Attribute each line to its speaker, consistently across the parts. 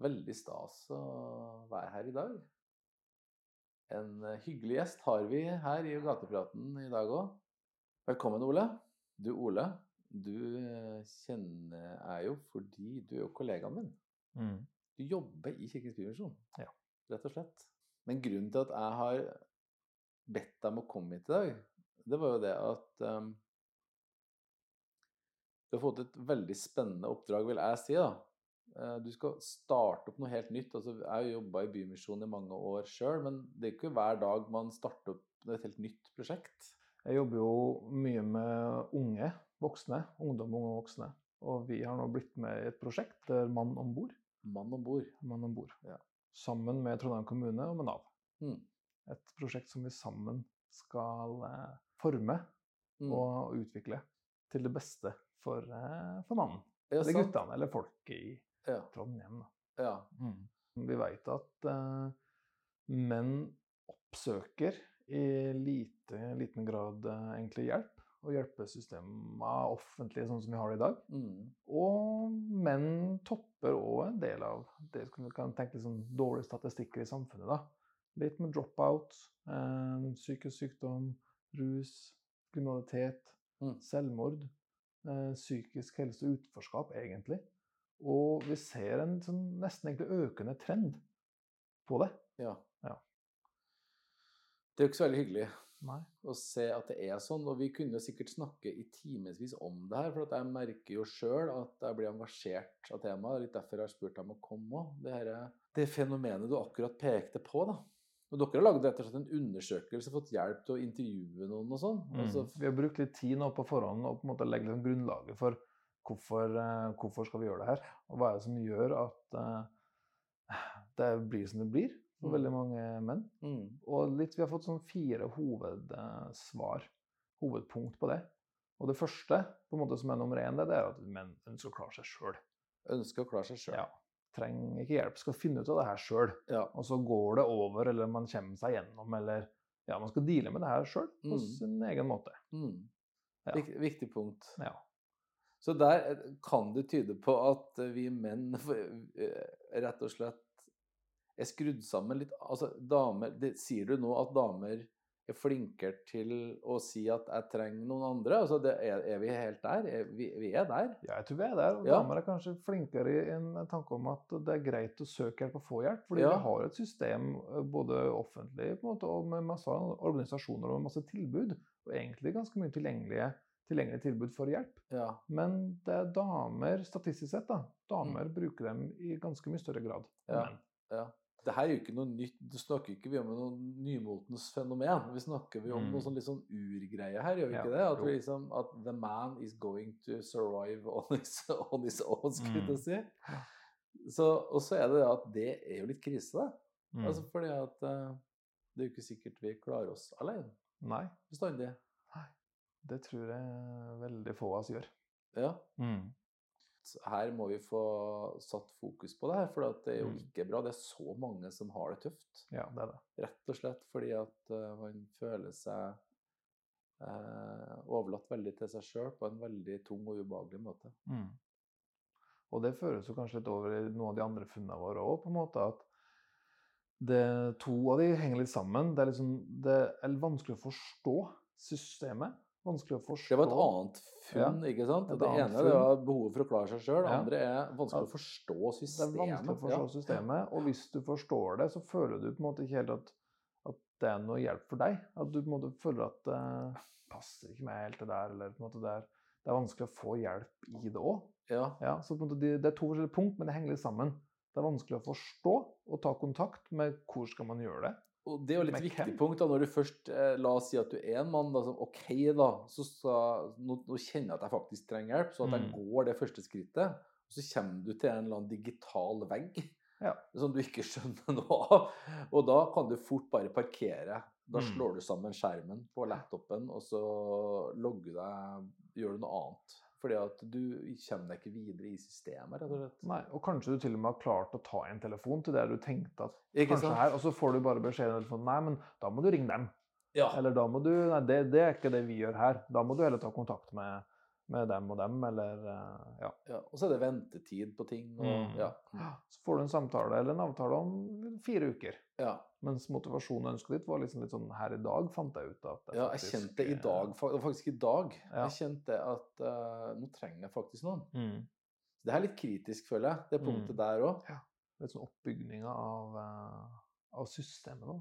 Speaker 1: Veldig stas å være her i dag. En eh, hyggelig gjest har vi her i Gatepraten i dag òg. Velkommen, Ole. Du, Ole, du eh, kjenner jeg jo fordi du er jo kollegaen min.
Speaker 2: Mm.
Speaker 1: Du jobber i Kirkens Bymisjon,
Speaker 2: Ja.
Speaker 1: rett og slett. Men grunnen til at jeg har bedt deg om å komme hit i dag, det var jo det at ehm, du har fått et veldig spennende oppdrag, vil jeg si. da. Eh, Du skal starte opp noe helt nytt. Altså, jeg har jobba i Bymisjonen i mange år sjøl, men det er ikke hver dag man starter opp et helt nytt prosjekt.
Speaker 2: Jeg jobber jo mye med unge voksne. Ungdom og unge voksne. Og vi har nå blitt med i et prosjekt der Mann om bord.
Speaker 1: Mann om bord.
Speaker 2: Mann om bord.
Speaker 1: Ja.
Speaker 2: Sammen med Trondheim kommune og med Nav.
Speaker 1: Mm.
Speaker 2: Et prosjekt som vi sammen skal eh, forme
Speaker 1: Mm.
Speaker 2: og utvikle til det beste for, eh, for mannen.
Speaker 1: Ja,
Speaker 2: Eller
Speaker 1: sant.
Speaker 2: guttene, eller folket i
Speaker 1: Ja, Mm.
Speaker 2: Trondheim. Da.
Speaker 1: ja.
Speaker 2: Vi veit at eh, menn oppsøker i lite, liten grad eh, egentlig hjelp, og hjelpesystemer offentlig sånn som vi har det i dag.
Speaker 1: Mm.
Speaker 2: Og menn topper òg en del av det som vi kan tenke liksom, dårlige statistikker i samfunnet. da. Litt med dropout, eh, psykisk sykdom, rus, kriminalitet,
Speaker 1: Mm.
Speaker 2: selvmord. Eh, psykisk helse og utenforskap, egentlig. Og vi ser en sånn, nesten egentlig økende trend på det.
Speaker 1: ja.
Speaker 2: Ja.
Speaker 1: Det er jo ikke så veldig hyggelig.
Speaker 2: Nei.
Speaker 1: og se at det er sånn. Og vi kunne jo sikkert snakke i timevis om det her, for at jeg merker jo sjøl at jeg blir engasjert av temaet. Litt derfor jeg har spurt deg om å komme òg. Det, her- det fenomenet du akkurat pekte på, da. Og dere har laget rett og slett en undersøkelse, fått hjelp til å intervjue noen og sånn. Altså,
Speaker 2: Mm. vi har brukt litt tid nå på forhånd og på en måte legge liksom grunnlaget for hvorfor, eh, hvorfor skal vi gjøre det her. Og hva er det som gjør at eh, det blir som det blir for
Speaker 1: Mm.
Speaker 2: veldig mange menn.
Speaker 1: mm,
Speaker 2: Og litt, vi har fått sånn fire hovedsvar, hovedpunkt på det. Og det første på en måte som er nummer én, det er at menn ønsker å klare seg sjøl.
Speaker 1: ønsker å klare seg sjøl.
Speaker 2: Ja. Trenger ikke hjelp, skal finne ut av det her sjøl.
Speaker 1: Ja.
Speaker 2: Og så går det over, eller man kommer seg gjennom, eller ja, man skal deale med det her sjøl på
Speaker 1: Mm.
Speaker 2: sin egen måte.
Speaker 1: Mm.
Speaker 2: Ja.
Speaker 1: Vik, viktig punkt.
Speaker 2: Ja.
Speaker 1: Så der eh, kan det tyde på at vi menn eh, rett og slett er skrudd sammen litt Altså, damer det, Sier du nå at damer er flinkere til å si at 'jeg trenger noen andre'? Altså, det, er, er vi helt der? Er, vi, vi er der?
Speaker 2: Ja, jeg tror vi er der. Og
Speaker 1: Ja.
Speaker 2: damer er kanskje flinkere i en tanke om at det er greit å søke hjelp og få hjelp. Fordi
Speaker 1: Ja.
Speaker 2: vi har et system eh, både offentlig på en måte, og med masse organisasjoner og masse tilbud. Og egentlig ganske mye tilgjengelige, tilgjengelige tilbud for hjelp.
Speaker 1: Ja.
Speaker 2: Men det er damer, statistisk sett, da. Damer bruker dem i ganske mye større grad. enn
Speaker 1: Mm. Ja.
Speaker 2: menn.
Speaker 1: Det her er jo ikke noe nytt. Du snakker ikke vi om noe nymotens fenomen. Vi snakker vi om
Speaker 2: Mm.
Speaker 1: noe sånn litt sånn urgreie her, gjør vi
Speaker 2: Ja,
Speaker 1: ikke det? At, vi
Speaker 2: jo.
Speaker 1: liksom, at the man is going to survive on his, on his own, skulle
Speaker 2: Mm.
Speaker 1: jeg si. Så, og så er det det at det er jo litt krise, da.
Speaker 2: Mm.
Speaker 1: Altså fordi at eh, det er jo ikke sikkert vi klarer oss alene
Speaker 2: Nei,
Speaker 1: bestandig.
Speaker 2: det tror jeg veldig få av oss gjør.
Speaker 1: Ja. Mm. Så her må vi få satt fokus på det her, for at det er jo
Speaker 2: Mm.
Speaker 1: ikke bra. Det er så mange som har det tøft.
Speaker 2: Ja, det er det.
Speaker 1: Rett og slett fordi at eh, man føler seg eh, overlatt veldig til seg sjøl på en veldig tung og ubehagelig måte.
Speaker 2: Og det føres jo kanskje litt over i noen av de andre funnene våre òg, på en måte at det, to av de henger litt sammen. Det er, liksom, det er vanskelig å forstå systemet. Vanskelig å forstå
Speaker 1: Det var et annet funn, ikke sant?
Speaker 2: et
Speaker 1: Det
Speaker 2: annet
Speaker 1: ene det
Speaker 2: funn.
Speaker 1: var behovet for å klare seg sjøl, det
Speaker 2: Ja.
Speaker 1: andre er vanskelig å
Speaker 2: Ja.
Speaker 1: forstå
Speaker 2: Det er
Speaker 1: systemet.
Speaker 2: vanskelig å forstå
Speaker 1: Ja.
Speaker 2: systemet, og hvis du forstår det, så føler du på en måte ikke helt at, at det er noe hjelp for deg. At du på en måte føler at det passer ikke meg helt det der, eller på en måte det er, det er vanskelig å få hjelp i det òg.
Speaker 1: Ja.
Speaker 2: Ja, så på en måte de, Det er to forskjellige punkt, men det henger litt sammen. Det er vanskelig å forstå og ta kontakt med hvor skal man gjøre det.
Speaker 1: Og det er jo litt
Speaker 2: Men
Speaker 1: viktig
Speaker 2: hvem?
Speaker 1: punkt da, når du først eh, La oss si at du er en mann, da, som OK, da, så sa- nå, nå kjenner jeg at jeg faktisk trenger hjelp, så at jeg
Speaker 2: Mm.
Speaker 1: går det første skrittet. Og så kommer du til en eller annen digital vegg
Speaker 2: Ja.
Speaker 1: som du ikke skjønner noe av. Og da kan du fort bare parkere. Da
Speaker 2: Mm.
Speaker 1: slår du sammen skjermen på laptopen, og så logger du deg Gjør du noe annet. Fordi at du kommer deg ikke videre i systemet, rett og slett.
Speaker 2: Nei, Og kanskje du til og med har klart å ta en telefon til der du tenkte at
Speaker 1: Ikke
Speaker 2: kanskje her, og så får du bare beskjed i telefonen nei, men da må du ringe dem.
Speaker 1: Ja.
Speaker 2: Eller da må du Nei, det, det er ikke det vi gjør her. Da må du heller ta kontakt med, med dem og dem, eller eh, ja.
Speaker 1: Ja, og så er det ventetid på ting. Og,
Speaker 2: Mm.
Speaker 1: ja,
Speaker 2: Så får du en samtale eller en avtale om fire uker.
Speaker 1: ja,
Speaker 2: Mens motivasjonen og ønsket ditt var liksom litt sånn Her i dag fant jeg ut at
Speaker 1: ja, jeg
Speaker 2: faktisk,
Speaker 1: kjente det i
Speaker 2: eh,
Speaker 1: dag, fa- det var faktisk i dag,
Speaker 2: Ja.
Speaker 1: jeg kjente at eh, nå trenger jeg faktisk noen.
Speaker 2: Mm,
Speaker 1: Det er litt kritisk, føler jeg, det punktet
Speaker 2: Mm.
Speaker 1: der òg.
Speaker 2: litt sånn oppbygninga av, eh, av systemet, da.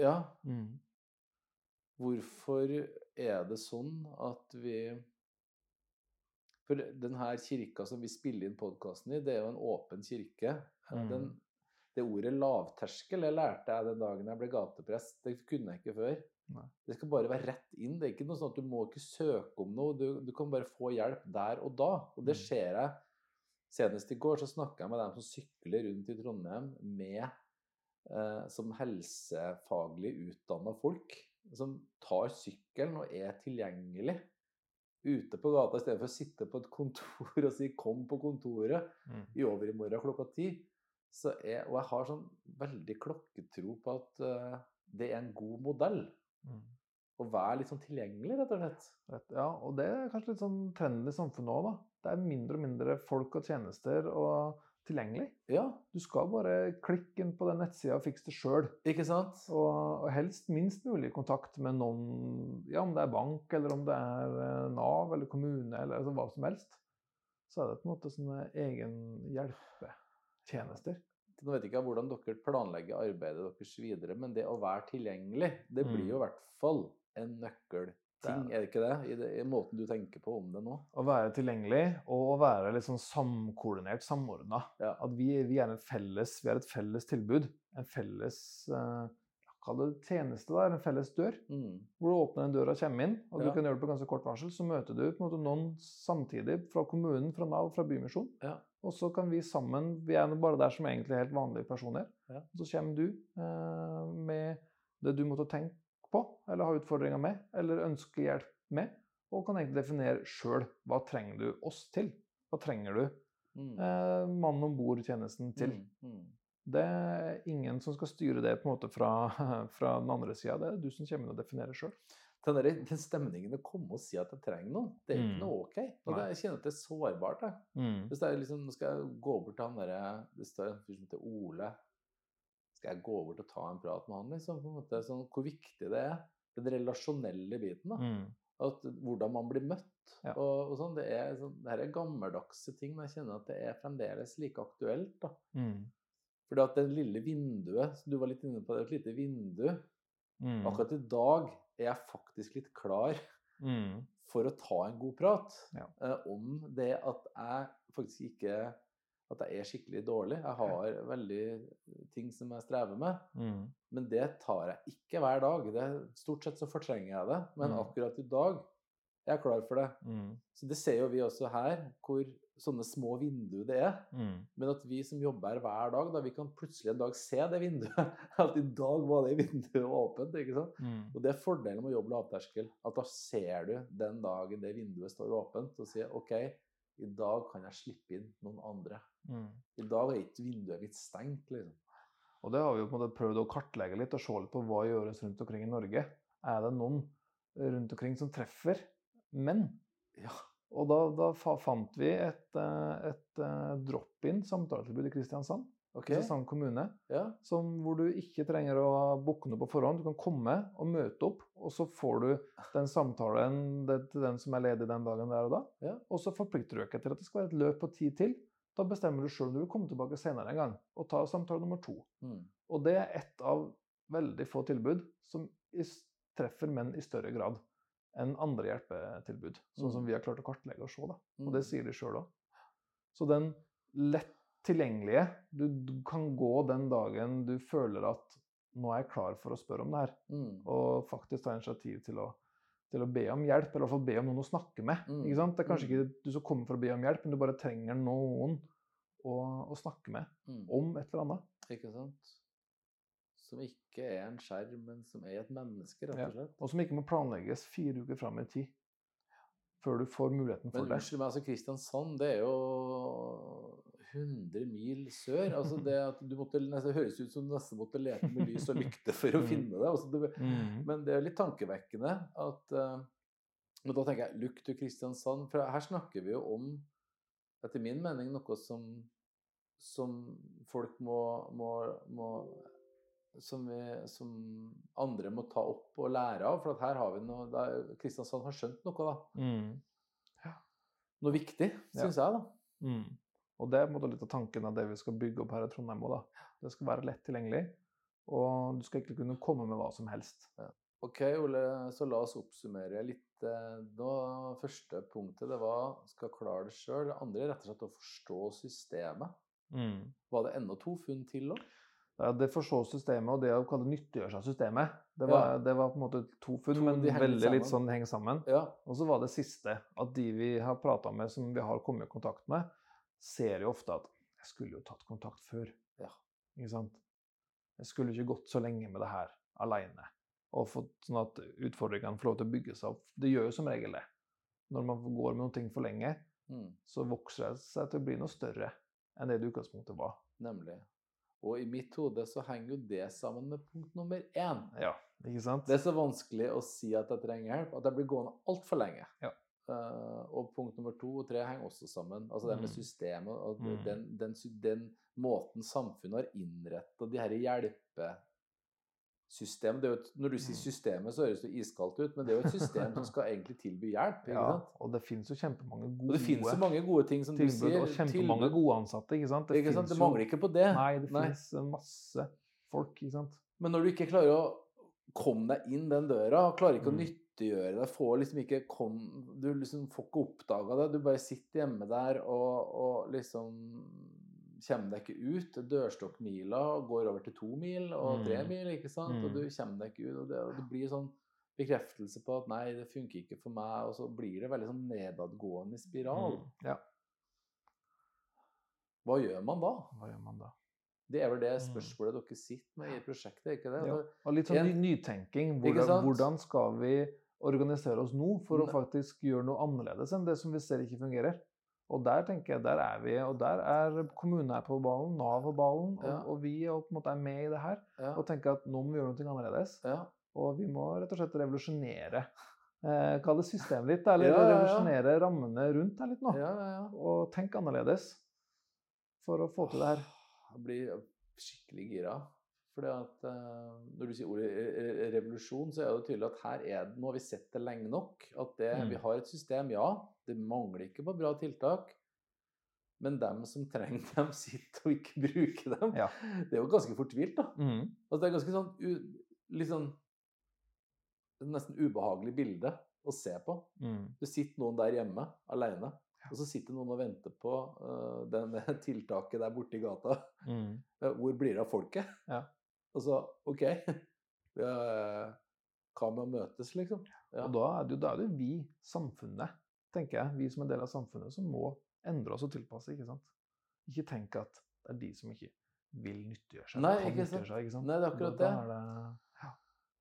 Speaker 1: Ja, hvorfor er det sånn at vi For den her kirka som vi spiller inn podkasten i, det er jo en åpen kirke. Eh,
Speaker 2: Mm.
Speaker 1: Den, det ordet lavterskel det lærte jeg den dagen jeg ble gateprest. Det kunne jeg ikke før.
Speaker 2: Nei.
Speaker 1: Det skal bare være rett inn. Det er ikke noe sånn at du må ikke søke om noe. Du, du kan bare få hjelp der og da. Og det
Speaker 2: Mm.
Speaker 1: ser jeg. Senest i går så snakka jeg med dem som sykler rundt i Trondheim med eh, som helsefaglig utdanna folk. Som tar sykkelen og er tilgjengelig ute på gata i stedet for å sitte på et kontor og si 'kom på kontoret'
Speaker 2: Mm.
Speaker 1: i overmorgen klokka ti. Så jeg, og jeg har sånn veldig klokketro på at eh, det er en god modell.
Speaker 2: Mm.
Speaker 1: Å være litt sånn tilgjengelig, rett og slett.
Speaker 2: Rett, ja, og det er kanskje litt sånn trenden i samfunnet òg, da. Det er mindre og mindre folk og tjenester og tilgjengelig.
Speaker 1: Ja,
Speaker 2: Du skal bare klikke inn på den nettsida og fikse det sjøl.
Speaker 1: ikke sant?
Speaker 2: Og, og helst minst mulig kontakt med noen, ja, om det er bank, eller om det er eh, Nav eller kommune, eller altså, hva som helst. Så er det på en måte sånne egen hjelpetjenester.
Speaker 1: Nå vet ikke jeg hvordan dere planlegger arbeidet deres videre, men det å være tilgjengelig, det blir
Speaker 2: Mm.
Speaker 1: jo i hvert fall en nøkkelting,
Speaker 2: Det
Speaker 1: er det ikke det? I, det? I måten du tenker på om det nå.
Speaker 2: Å være tilgjengelig og å være litt sånn samkoordinert, samordna.
Speaker 1: Ja.
Speaker 2: At vi, vi, er en felles, vi er et felles tilbud. En felles eh, ja, Kall det tjeneste, da. eller En felles dør.
Speaker 1: Mm.
Speaker 2: Hvor du åpner den døra og kommer inn, og
Speaker 1: Ja.
Speaker 2: du kan gjøre det på ganske kort varsel. Så møter du på en måte noen samtidig fra kommunen, fra Nav, fra Bymisjon.
Speaker 1: Ja.
Speaker 2: Og så kan vi sammen Vi er nå bare der som egentlig helt vanlige personer.
Speaker 1: Ja.
Speaker 2: Så kommer du eh, med det du måtte tenke på, eller ha utfordringer med, eller ønske hjelp med, og kan egentlig definere sjøl hva trenger du oss til? Hva trenger du
Speaker 1: Mm.
Speaker 2: eh, mannen om bord-tjenesten til?
Speaker 1: Mm. Mm.
Speaker 2: Det er ingen som skal styre det på en måte fra, fra den andre sida. Det er du som kommer inn og definerer sjøl.
Speaker 1: Den, der, den stemningen å komme og si at jeg trenger noen, det er jo
Speaker 2: Mm.
Speaker 1: ikke noe ok. Og det,
Speaker 2: Nei.
Speaker 1: jeg kjenner at det er sårbart. Jeg. Hvis det er liksom, nå skal jeg gå bort til han derre Det står en fyr som heter Ole. Skal jeg gå bort og ta en prat med han, liksom? På en måte, sånn, hvor viktig det er. Den relasjonelle biten, da. at hvordan man blir møtt.
Speaker 2: Mm. Ja.
Speaker 1: Og, og sånn, det, er, sånn, det her er gammeldagse ting, men jeg kjenner at det er fremdeles like aktuelt. da. Fordi at det lille vinduet, som du var litt inne på, det er et lite vindu
Speaker 2: Mm.
Speaker 1: Akkurat i dag er jeg faktisk litt klar for å ta en god prat
Speaker 2: Ja.
Speaker 1: eh, om det at jeg faktisk ikke At jeg er skikkelig dårlig. Jeg har veldig ting som jeg strever med. Men det tar jeg ikke hver dag. Det, stort sett så fortrenger jeg det. Men
Speaker 2: Mm.
Speaker 1: akkurat i dag jeg er jeg klar for det. Så det ser jo vi også her, hvor sånne små vinduer det er. Men at vi som jobber her hver dag, da vi kan plutselig en dag se det vinduet. At i dag var det vinduet åpent. ikke sant? Og det er fordelen med å jobbe lavterskel. At da ser du den dagen det vinduet står åpent, og sier OK, i dag kan jeg slippe inn noen andre. I dag er ikke vinduet mitt stengt, liksom.
Speaker 2: Og det har vi jo på en måte prøvd å kartlegge litt og se litt på hva gjøres rundt omkring i Norge. Er det noen eh, rundt omkring som treffer menn?
Speaker 1: Ja.
Speaker 2: Og da, da fa- fant vi et, eh, et eh, drop-in samtaletilbud i Kristiansand,
Speaker 1: OK?
Speaker 2: Kristiansand kommune,
Speaker 1: Ja.
Speaker 2: som, hvor du ikke trenger å booke noe på forhånd. Du kan komme og møte opp, og så får du den samtalen det, til den som er ledig den dagen der og da.
Speaker 1: Ja.
Speaker 2: Og så forplikter du deg ikke til at det skal være et løp på ti til. Da bestemmer du sjøl om du vil komme tilbake senere en gang og ta samtale nummer to.
Speaker 1: Mm.
Speaker 2: Og det er ett av veldig få tilbud som i s- treffer menn i større grad enn andre hjelpetilbud. Sånn som
Speaker 1: Mm.
Speaker 2: vi har klart å kartlegge og se. da.
Speaker 1: Mm.
Speaker 2: Og det sier de sjøl òg. Så den lett tilgjengelige du, du kan gå den dagen du føler at nå er jeg klar for å spørre om det her,
Speaker 1: Mm.
Speaker 2: og faktisk ta initiativ til å, til å be om hjelp, eller i hvert fall be om noen å snakke med.
Speaker 1: Mm.
Speaker 2: Ikke sant? Det er kanskje
Speaker 1: Mm.
Speaker 2: ikke du som kommer for å be om hjelp, men du bare trenger noen å, å snakke med
Speaker 1: Mm.
Speaker 2: om et eller annet.
Speaker 1: Ikke sant? Som ikke er en skjerm, men som er et menneske, rett
Speaker 2: Ja.
Speaker 1: og slett.
Speaker 2: Og som ikke må planlegges fire uker fram i tid før du får muligheten for
Speaker 1: Men
Speaker 2: det.
Speaker 1: unnskyld meg, altså Kristiansand, det er jo 100 mil sør. altså Det at du måtte, nesten- det høres ut som du nesten måtte lete med lys og lykte for å
Speaker 2: Mm.
Speaker 1: finne det. altså det
Speaker 2: Mm.
Speaker 1: men det er litt tankevekkende at eh, Men da tenker jeg look to Kristiansand, for her snakker vi jo om, etter min mening, noe som, som folk må, må, må som, vi, som andre må ta opp og lære av. For at her har vi noe da, Kristiansand har skjønt noe, da.
Speaker 2: Mm.
Speaker 1: Noe viktig,
Speaker 2: Ja.
Speaker 1: syns jeg, da.
Speaker 2: Mm. Og det er på en måte litt av tanken av det vi skal bygge opp her i Trondheim òg, da. Det skal være lett tilgjengelig, og du skal egentlig kunne komme med hva som helst.
Speaker 1: Ok, Ole, så la oss oppsummere litt. eh, Nå, første punktet det var skal klare det sjøl. Det andre er rett og slett å forstå systemet.
Speaker 2: Mm.
Speaker 1: Var det enda to funn til òg?
Speaker 2: Ja, det forstå systemet og det å kalle nyttiggjøre seg systemet, det var,
Speaker 1: Ja.
Speaker 2: det var på en måte to funn,
Speaker 1: To,
Speaker 2: men
Speaker 1: de henger litt
Speaker 2: veldig litt
Speaker 1: sammen.
Speaker 2: sånn henger sammen.
Speaker 1: Ja.
Speaker 2: Og så var det siste, at de vi har prata med, som vi har kommet i kontakt med, ser jo ofte at 'jeg skulle jo tatt kontakt før'.
Speaker 1: Ja.
Speaker 2: Ikke sant? Jeg skulle ikke gått så lenge med det her aleine. Og fått sånn at utfordringene får lov til å bygge seg opp. Det gjør jo som regel det. Når man går med noen ting for lenge,
Speaker 1: Mm.
Speaker 2: så vokser det seg til å bli noe større enn det det i utgangspunktet var.
Speaker 1: Nemlig. Og i mitt hode så henger jo det sammen med punkt nummer én.
Speaker 2: Ja, ikke sant?
Speaker 1: Det er så vanskelig å si at jeg trenger hjelp, at jeg blir gående altfor lenge.
Speaker 2: Ja.
Speaker 1: Eh, og punkt nummer to og tre henger også sammen. Altså det med
Speaker 2: Mm.
Speaker 1: systemet og
Speaker 2: Mm.
Speaker 1: den, den, sy- den måten samfunnet har innretta de her hjelpesystem det er jo et, Når du sier
Speaker 2: Mm.
Speaker 1: systemet, så høres det iskaldt ut, men det er jo et system som skal egentlig tilby hjelp. Ikke
Speaker 2: ja,
Speaker 1: sant?
Speaker 2: og det fins jo kjempemange
Speaker 1: Og
Speaker 2: gode
Speaker 1: det finnes jo mange gode ting, som
Speaker 2: tilbud,
Speaker 1: du sier.
Speaker 2: og kjempemange
Speaker 1: tilbud,
Speaker 2: gode ansatte. ikke sant?
Speaker 1: ikke sant?
Speaker 2: finnes
Speaker 1: Det
Speaker 2: jo-
Speaker 1: mangler ikke på det.
Speaker 2: Nei, det
Speaker 1: Nei.
Speaker 2: finnes eh, masse folk, ikke sant?
Speaker 1: Men når du ikke klarer å komme deg inn den døra, og klarer ikke
Speaker 2: Mm.
Speaker 1: å nyttiggjøre deg, får liksom ikke kom, du liksom får ikke oppdaga det, du bare sitter hjemme der og, og liksom kommer deg ikke ut. Dørstokkmila går over til to mil og tre
Speaker 2: Mm.
Speaker 1: mil, ikke sant?
Speaker 2: Mm.
Speaker 1: Og du kommer deg ikke ut. Og det, og det blir sånn bekreftelse på at nei, det funker ikke for meg, og så blir det veldig sånn nedadgående spiral.
Speaker 2: Mm. Ja,
Speaker 1: Hva gjør man da?
Speaker 2: hva gjør man da?
Speaker 1: Det er vel det
Speaker 2: Mm.
Speaker 1: spørsmålet dere sitter med i prosjektet, er ikke det?
Speaker 2: Ja.
Speaker 1: Altså,
Speaker 2: Og litt sånn
Speaker 1: En-
Speaker 2: ny- nytenking.
Speaker 1: Ikke
Speaker 2: Hvordan,
Speaker 1: sant?
Speaker 2: hvordan skal vi organisere oss nå for å
Speaker 1: Ne-
Speaker 2: faktisk gjøre noe annerledes enn det som vi ser ikke fungerer? Og der tenker jeg, der er vi, og der er kommunen er på ballen, Nav på ballen, og,
Speaker 1: Ja.
Speaker 2: og vi er, på en måte er med i det her.
Speaker 1: Ja.
Speaker 2: Og tenker at nå må vi gjøre noe annerledes.
Speaker 1: Ja.
Speaker 2: Og vi må rett og slett revolusjonere eh, Kall det systemet ditt, da, eller
Speaker 1: Ja, ja, ja.
Speaker 2: revolusjonere rammene rundt her litt nå.
Speaker 1: ja, ja, ja.
Speaker 2: Og tenk annerledes for å få til det her.
Speaker 1: Åh, Jeg blir skikkelig gira. Fordi at eh, Når du sier ordet eh, eh, revolusjon, så er det jo tydelig at her er det, nå har vi sett det lenge nok. At det,
Speaker 2: Mm.
Speaker 1: vi har et system, ja. Det mangler ikke på bra tiltak. Men dem som trenger dem, sitter og ikke bruker dem.
Speaker 2: Ja.
Speaker 1: Det er jo ganske fortvilt, da.
Speaker 2: Mm.
Speaker 1: Altså, det er ganske sånn u, litt sånn et Nesten ubehagelig bilde å se på.
Speaker 2: Mm.
Speaker 1: Det sitter noen der hjemme alene, og så sitter noen og venter på eh, den- det tiltaket der borte i gata.
Speaker 2: Mm.
Speaker 1: Eh, Hvor blir det av folket?
Speaker 2: Ja.
Speaker 1: Og så, OK eh, Hva med å møtes, liksom? Ja.
Speaker 2: Og da er, det jo, da er det jo vi, samfunnet, tenker jeg, vi som en del av samfunnet, som må endre oss og tilpasse, ikke sant? Ikke tenk at det er de som ikke vil nyttiggjøre seg.
Speaker 1: Nei,
Speaker 2: kan
Speaker 1: ikke
Speaker 2: nyttiggjøre
Speaker 1: sant.
Speaker 2: Seg, ikke sant?
Speaker 1: Nei, det er akkurat
Speaker 2: Da-
Speaker 1: det.
Speaker 2: Da er det...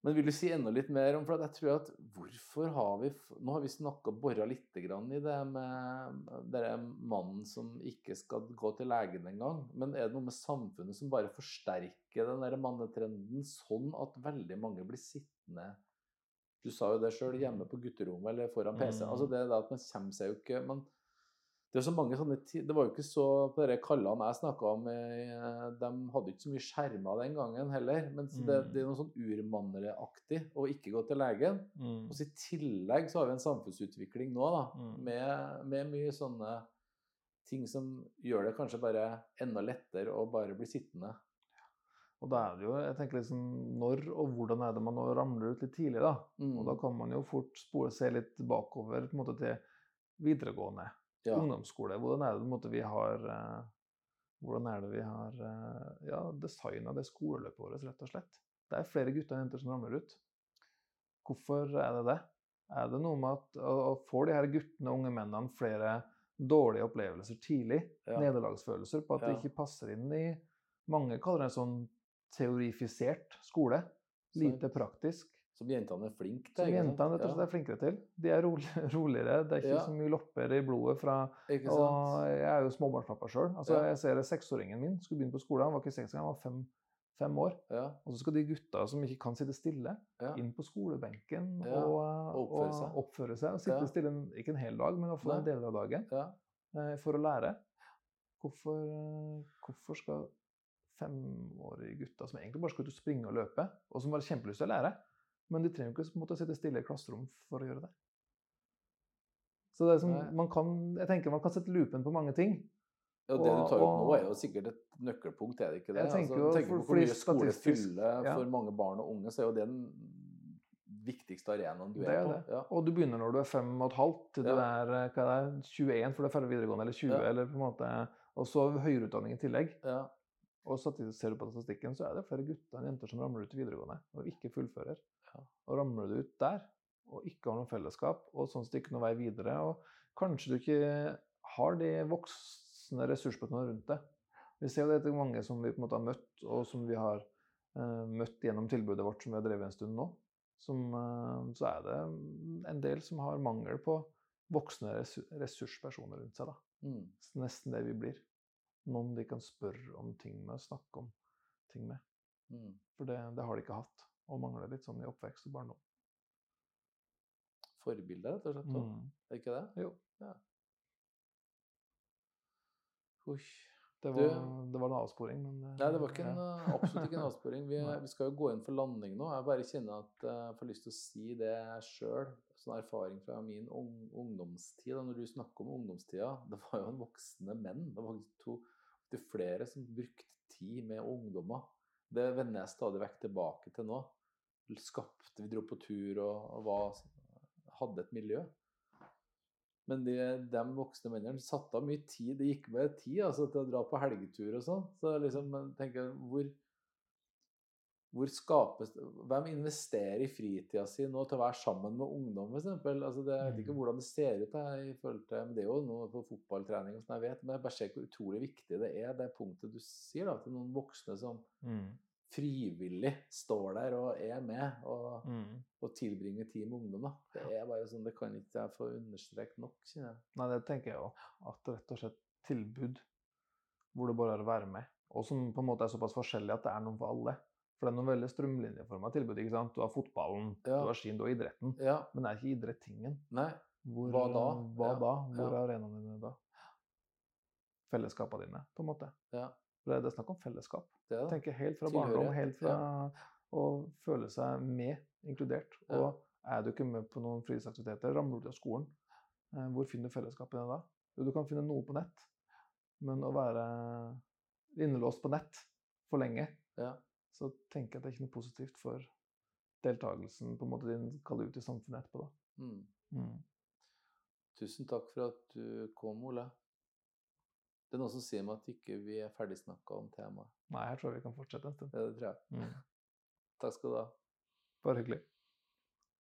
Speaker 1: Men vil du si enda litt mer om For at jeg tror at hvorfor har vi f- Nå har vi snakka borra litt grann i det med den mannen som ikke skal gå til legen engang. Men er det noe med samfunnet som bare forsterker den der mannetrenden sånn at veldig mange blir sittende Du sa jo det sjøl, hjemme på gutterommet eller foran PC.
Speaker 2: Mm.
Speaker 1: Altså det der at man kommer seg jo ikke man, det er jo så mange sånne ti- Det var jo ikke så på de kallene jeg snakka om eh, De hadde jo ikke så mye skjermer den gangen heller. Men så det,
Speaker 2: Mm.
Speaker 1: det er noe sånn urmanneraktig å ikke gå til legen. Og så I tillegg så har vi en samfunnsutvikling nå da,
Speaker 2: Mm.
Speaker 1: med, med mye sånne ting som gjør det kanskje bare enda lettere å bare bli sittende.
Speaker 2: Og da er det jo, jeg tenker liksom, når og hvordan er det man nå ramler ut litt tidlig, da?
Speaker 1: Mm.
Speaker 2: Og da kan man jo fort spole seg litt bakover på en måte, til videregående,
Speaker 1: ja.
Speaker 2: ungdomsskole. Hvordan er det på en måte, vi har eh, Hvordan er det vi har eh, ja, designa det skoleløpet vårt, rett og slett? Det er flere gutter og jenter som ramler ut. Hvorfor er det det? Er det noe med at og, og Får de her guttene og unge mennene flere dårlige opplevelser tidlig?
Speaker 1: Ja.
Speaker 2: Nederlagsfølelser på at det
Speaker 1: Ja.
Speaker 2: ikke passer inn i Mange kaller det en sånn teorifisert skole. Lite
Speaker 1: Så,
Speaker 2: praktisk.
Speaker 1: sånn. som jentene er flinke
Speaker 2: Som
Speaker 1: til. ikke sant?
Speaker 2: jentene rett og slett er flinkere til. De er rolig, roligere, det er ikke
Speaker 1: Ja.
Speaker 2: så mye lopper i blodet fra
Speaker 1: Ja, ikke
Speaker 2: Og
Speaker 1: sant?
Speaker 2: jeg er jo småbarnspappa sjøl. Altså,
Speaker 1: Ja.
Speaker 2: Jeg ser seksåringen min skulle begynne på skolen. Han var ikke seks engang, han var fem, fem år.
Speaker 1: Ja.
Speaker 2: Og så skal de gutta som ikke kan sitte stille,
Speaker 1: Ja.
Speaker 2: inn på skolebenken
Speaker 1: Ja,
Speaker 2: og,
Speaker 1: og oppføre seg.
Speaker 2: og oppføre seg. Og sitte
Speaker 1: Ja.
Speaker 2: stille en- ikke en hel dag, men iallfall en
Speaker 1: Nei.
Speaker 2: del av dagen
Speaker 1: ja.
Speaker 2: eh, for å lære. Hvorfor, eh, hvorfor skal femårige gutter som egentlig bare skal ut og springe og løpe, og som har kjempelyst til å lære, men de trenger jo ikke måtte sitte stille i klasserom for å gjøre det. Så det er som,
Speaker 1: Nei.
Speaker 2: man kan, jeg tenker man kan sette lupen på mange ting.
Speaker 1: Og det du tar ut nå,
Speaker 2: Og-
Speaker 1: er jo sikkert et nøkkelpunkt, er det ikke det?
Speaker 2: Jeg tenker jo,
Speaker 1: altså, tenker
Speaker 2: for-
Speaker 1: på hvor
Speaker 2: fordi
Speaker 1: mye skole
Speaker 2: statistisk-
Speaker 1: fyller
Speaker 2: ja.
Speaker 1: for mange barn og unge, så er jo det den viktigste arenaen du
Speaker 2: Det
Speaker 1: er,
Speaker 2: er
Speaker 1: på.
Speaker 2: det.
Speaker 1: Ja.
Speaker 2: Og du begynner når du er fem og et halvt, til du
Speaker 1: Ja.
Speaker 2: er eh, hva er det, 21 for du er ferdig videregående, eller 20,
Speaker 1: Ja.
Speaker 2: eller på en måte, og så høyere utdanning i tillegg.
Speaker 1: Ja.
Speaker 2: Og statistisk ser du på statistikken, så er det flere gutter enn jenter som ramler ut i videregående og ikke fullfører.
Speaker 1: Ja.
Speaker 2: Og ramler du ut der og ikke har noe fellesskap, og sånn sett ikke noe vei videre, og kanskje du ikke har de voksne ressurspersonene rundt deg. Vi ser jo det etter mange som vi på en måte har møtt, og som vi har eh, møtt gjennom tilbudet vårt som vi har drevet en stund nå. Som, eh, så er det en del som har mangel på voksne ressu- ressurspersoner rundt seg. da
Speaker 1: Mm.
Speaker 2: s- nesten det vi blir. Noen de kan spørre om ting med, snakke om ting med.
Speaker 1: Mm.
Speaker 2: For det, det har de ikke hatt, og mangler litt sånn i oppvekst og barndom.
Speaker 1: Forbilder, rett og slett. da.
Speaker 2: Mm.
Speaker 1: Er det ikke det?
Speaker 2: Jo.
Speaker 1: Ja. Uff.
Speaker 2: Det,
Speaker 1: Du-
Speaker 2: var, det var en avsporing, men
Speaker 1: Nei, det var ikke en,
Speaker 2: ja.
Speaker 1: eh, absolutt ikke en avsporing. Vi,
Speaker 2: Nei.
Speaker 1: vi skal jo gå inn for landing nå. Jeg bare kjenner at eh, jeg får lyst til å si det sjøl. Sånn erfaring fra min ung, ungdomstid. da, Når du snakker om ungdomstida, det var jo en voksne menn. Det var faktisk to, til flere som brukte tid med ungdommer. Det vender jeg stadig vekk tilbake til nå. Skapte, Vi dro på tur og, og var, hadde et miljø. Men de, de voksne mennene satte av mye tid. Det gikk med tid altså, til å dra på helgetur og sånn. Så jeg liksom jeg tenker hvor, hvor skapes Hvem investerer i fritida si nå til å være sammen med ungdom, f.eks.? Altså, det- jeg vet ikke
Speaker 2: Mm.
Speaker 1: hvordan det ser ut her i forhold til men Det er jo noe på fotballtrening og sånn, jeg vet, men jeg bare ser hvor utrolig viktig det er, det punktet du sier, da, til noen voksne som
Speaker 2: Mm.
Speaker 1: frivillig står der og er med. og
Speaker 2: Mm.
Speaker 1: og tilbringe tid med ungdom. da. Det er bare sånn, det kan ikke jeg få understreket nok. kjenner jeg.
Speaker 2: Nei, det tenker jeg òg. At rett og slett tilbud hvor det bare er å være med, og som på en måte er såpass forskjellig at det er noen for alle. For det er noen veldig strømlinjeforma tilbud. ikke sant? Du har fotballen,
Speaker 1: Ja.
Speaker 2: du har skien, du har idretten.
Speaker 1: Ja,
Speaker 2: Men er ikke idrett tingen?
Speaker 1: nei,
Speaker 2: Hvor,
Speaker 1: Hva da?
Speaker 2: eh, Hva
Speaker 1: Ja,
Speaker 2: da?
Speaker 1: ja.
Speaker 2: Hvor er arenaene dine da? Fellesskapene dine, på en måte.
Speaker 1: Ja.
Speaker 2: For det er- det er snakk om fellesskap.
Speaker 1: det er
Speaker 2: Jeg
Speaker 1: det.
Speaker 2: tenker helt fra barndom,
Speaker 1: Tilhørighet,
Speaker 2: helt fra å føle seg med, inkludert.
Speaker 1: Ja.
Speaker 2: Og er du ikke med på noen fritidsaktiviteter, ramler du ut av skolen. Eh, Hvor finner du fellesskapet dine da? Jo, du kan finne noe på nett, men å være innelåst på nett for lenge,
Speaker 1: Ja.
Speaker 2: så tenker jeg at det er ikke noe positivt for deltakelsen, på en måte din, kall det ut i samfunnet etterpå da.
Speaker 1: Mm.
Speaker 2: Mm.
Speaker 1: Tusen takk for at du kom, Ole. Det er noen som sier meg at ikke vi er ferdigsnakka om temaet.
Speaker 2: Nei, her tror jeg vi kan fortsette en stund.
Speaker 1: Det tror jeg.
Speaker 2: Mm.
Speaker 1: Takk skal du ha.
Speaker 2: Bare hyggelig.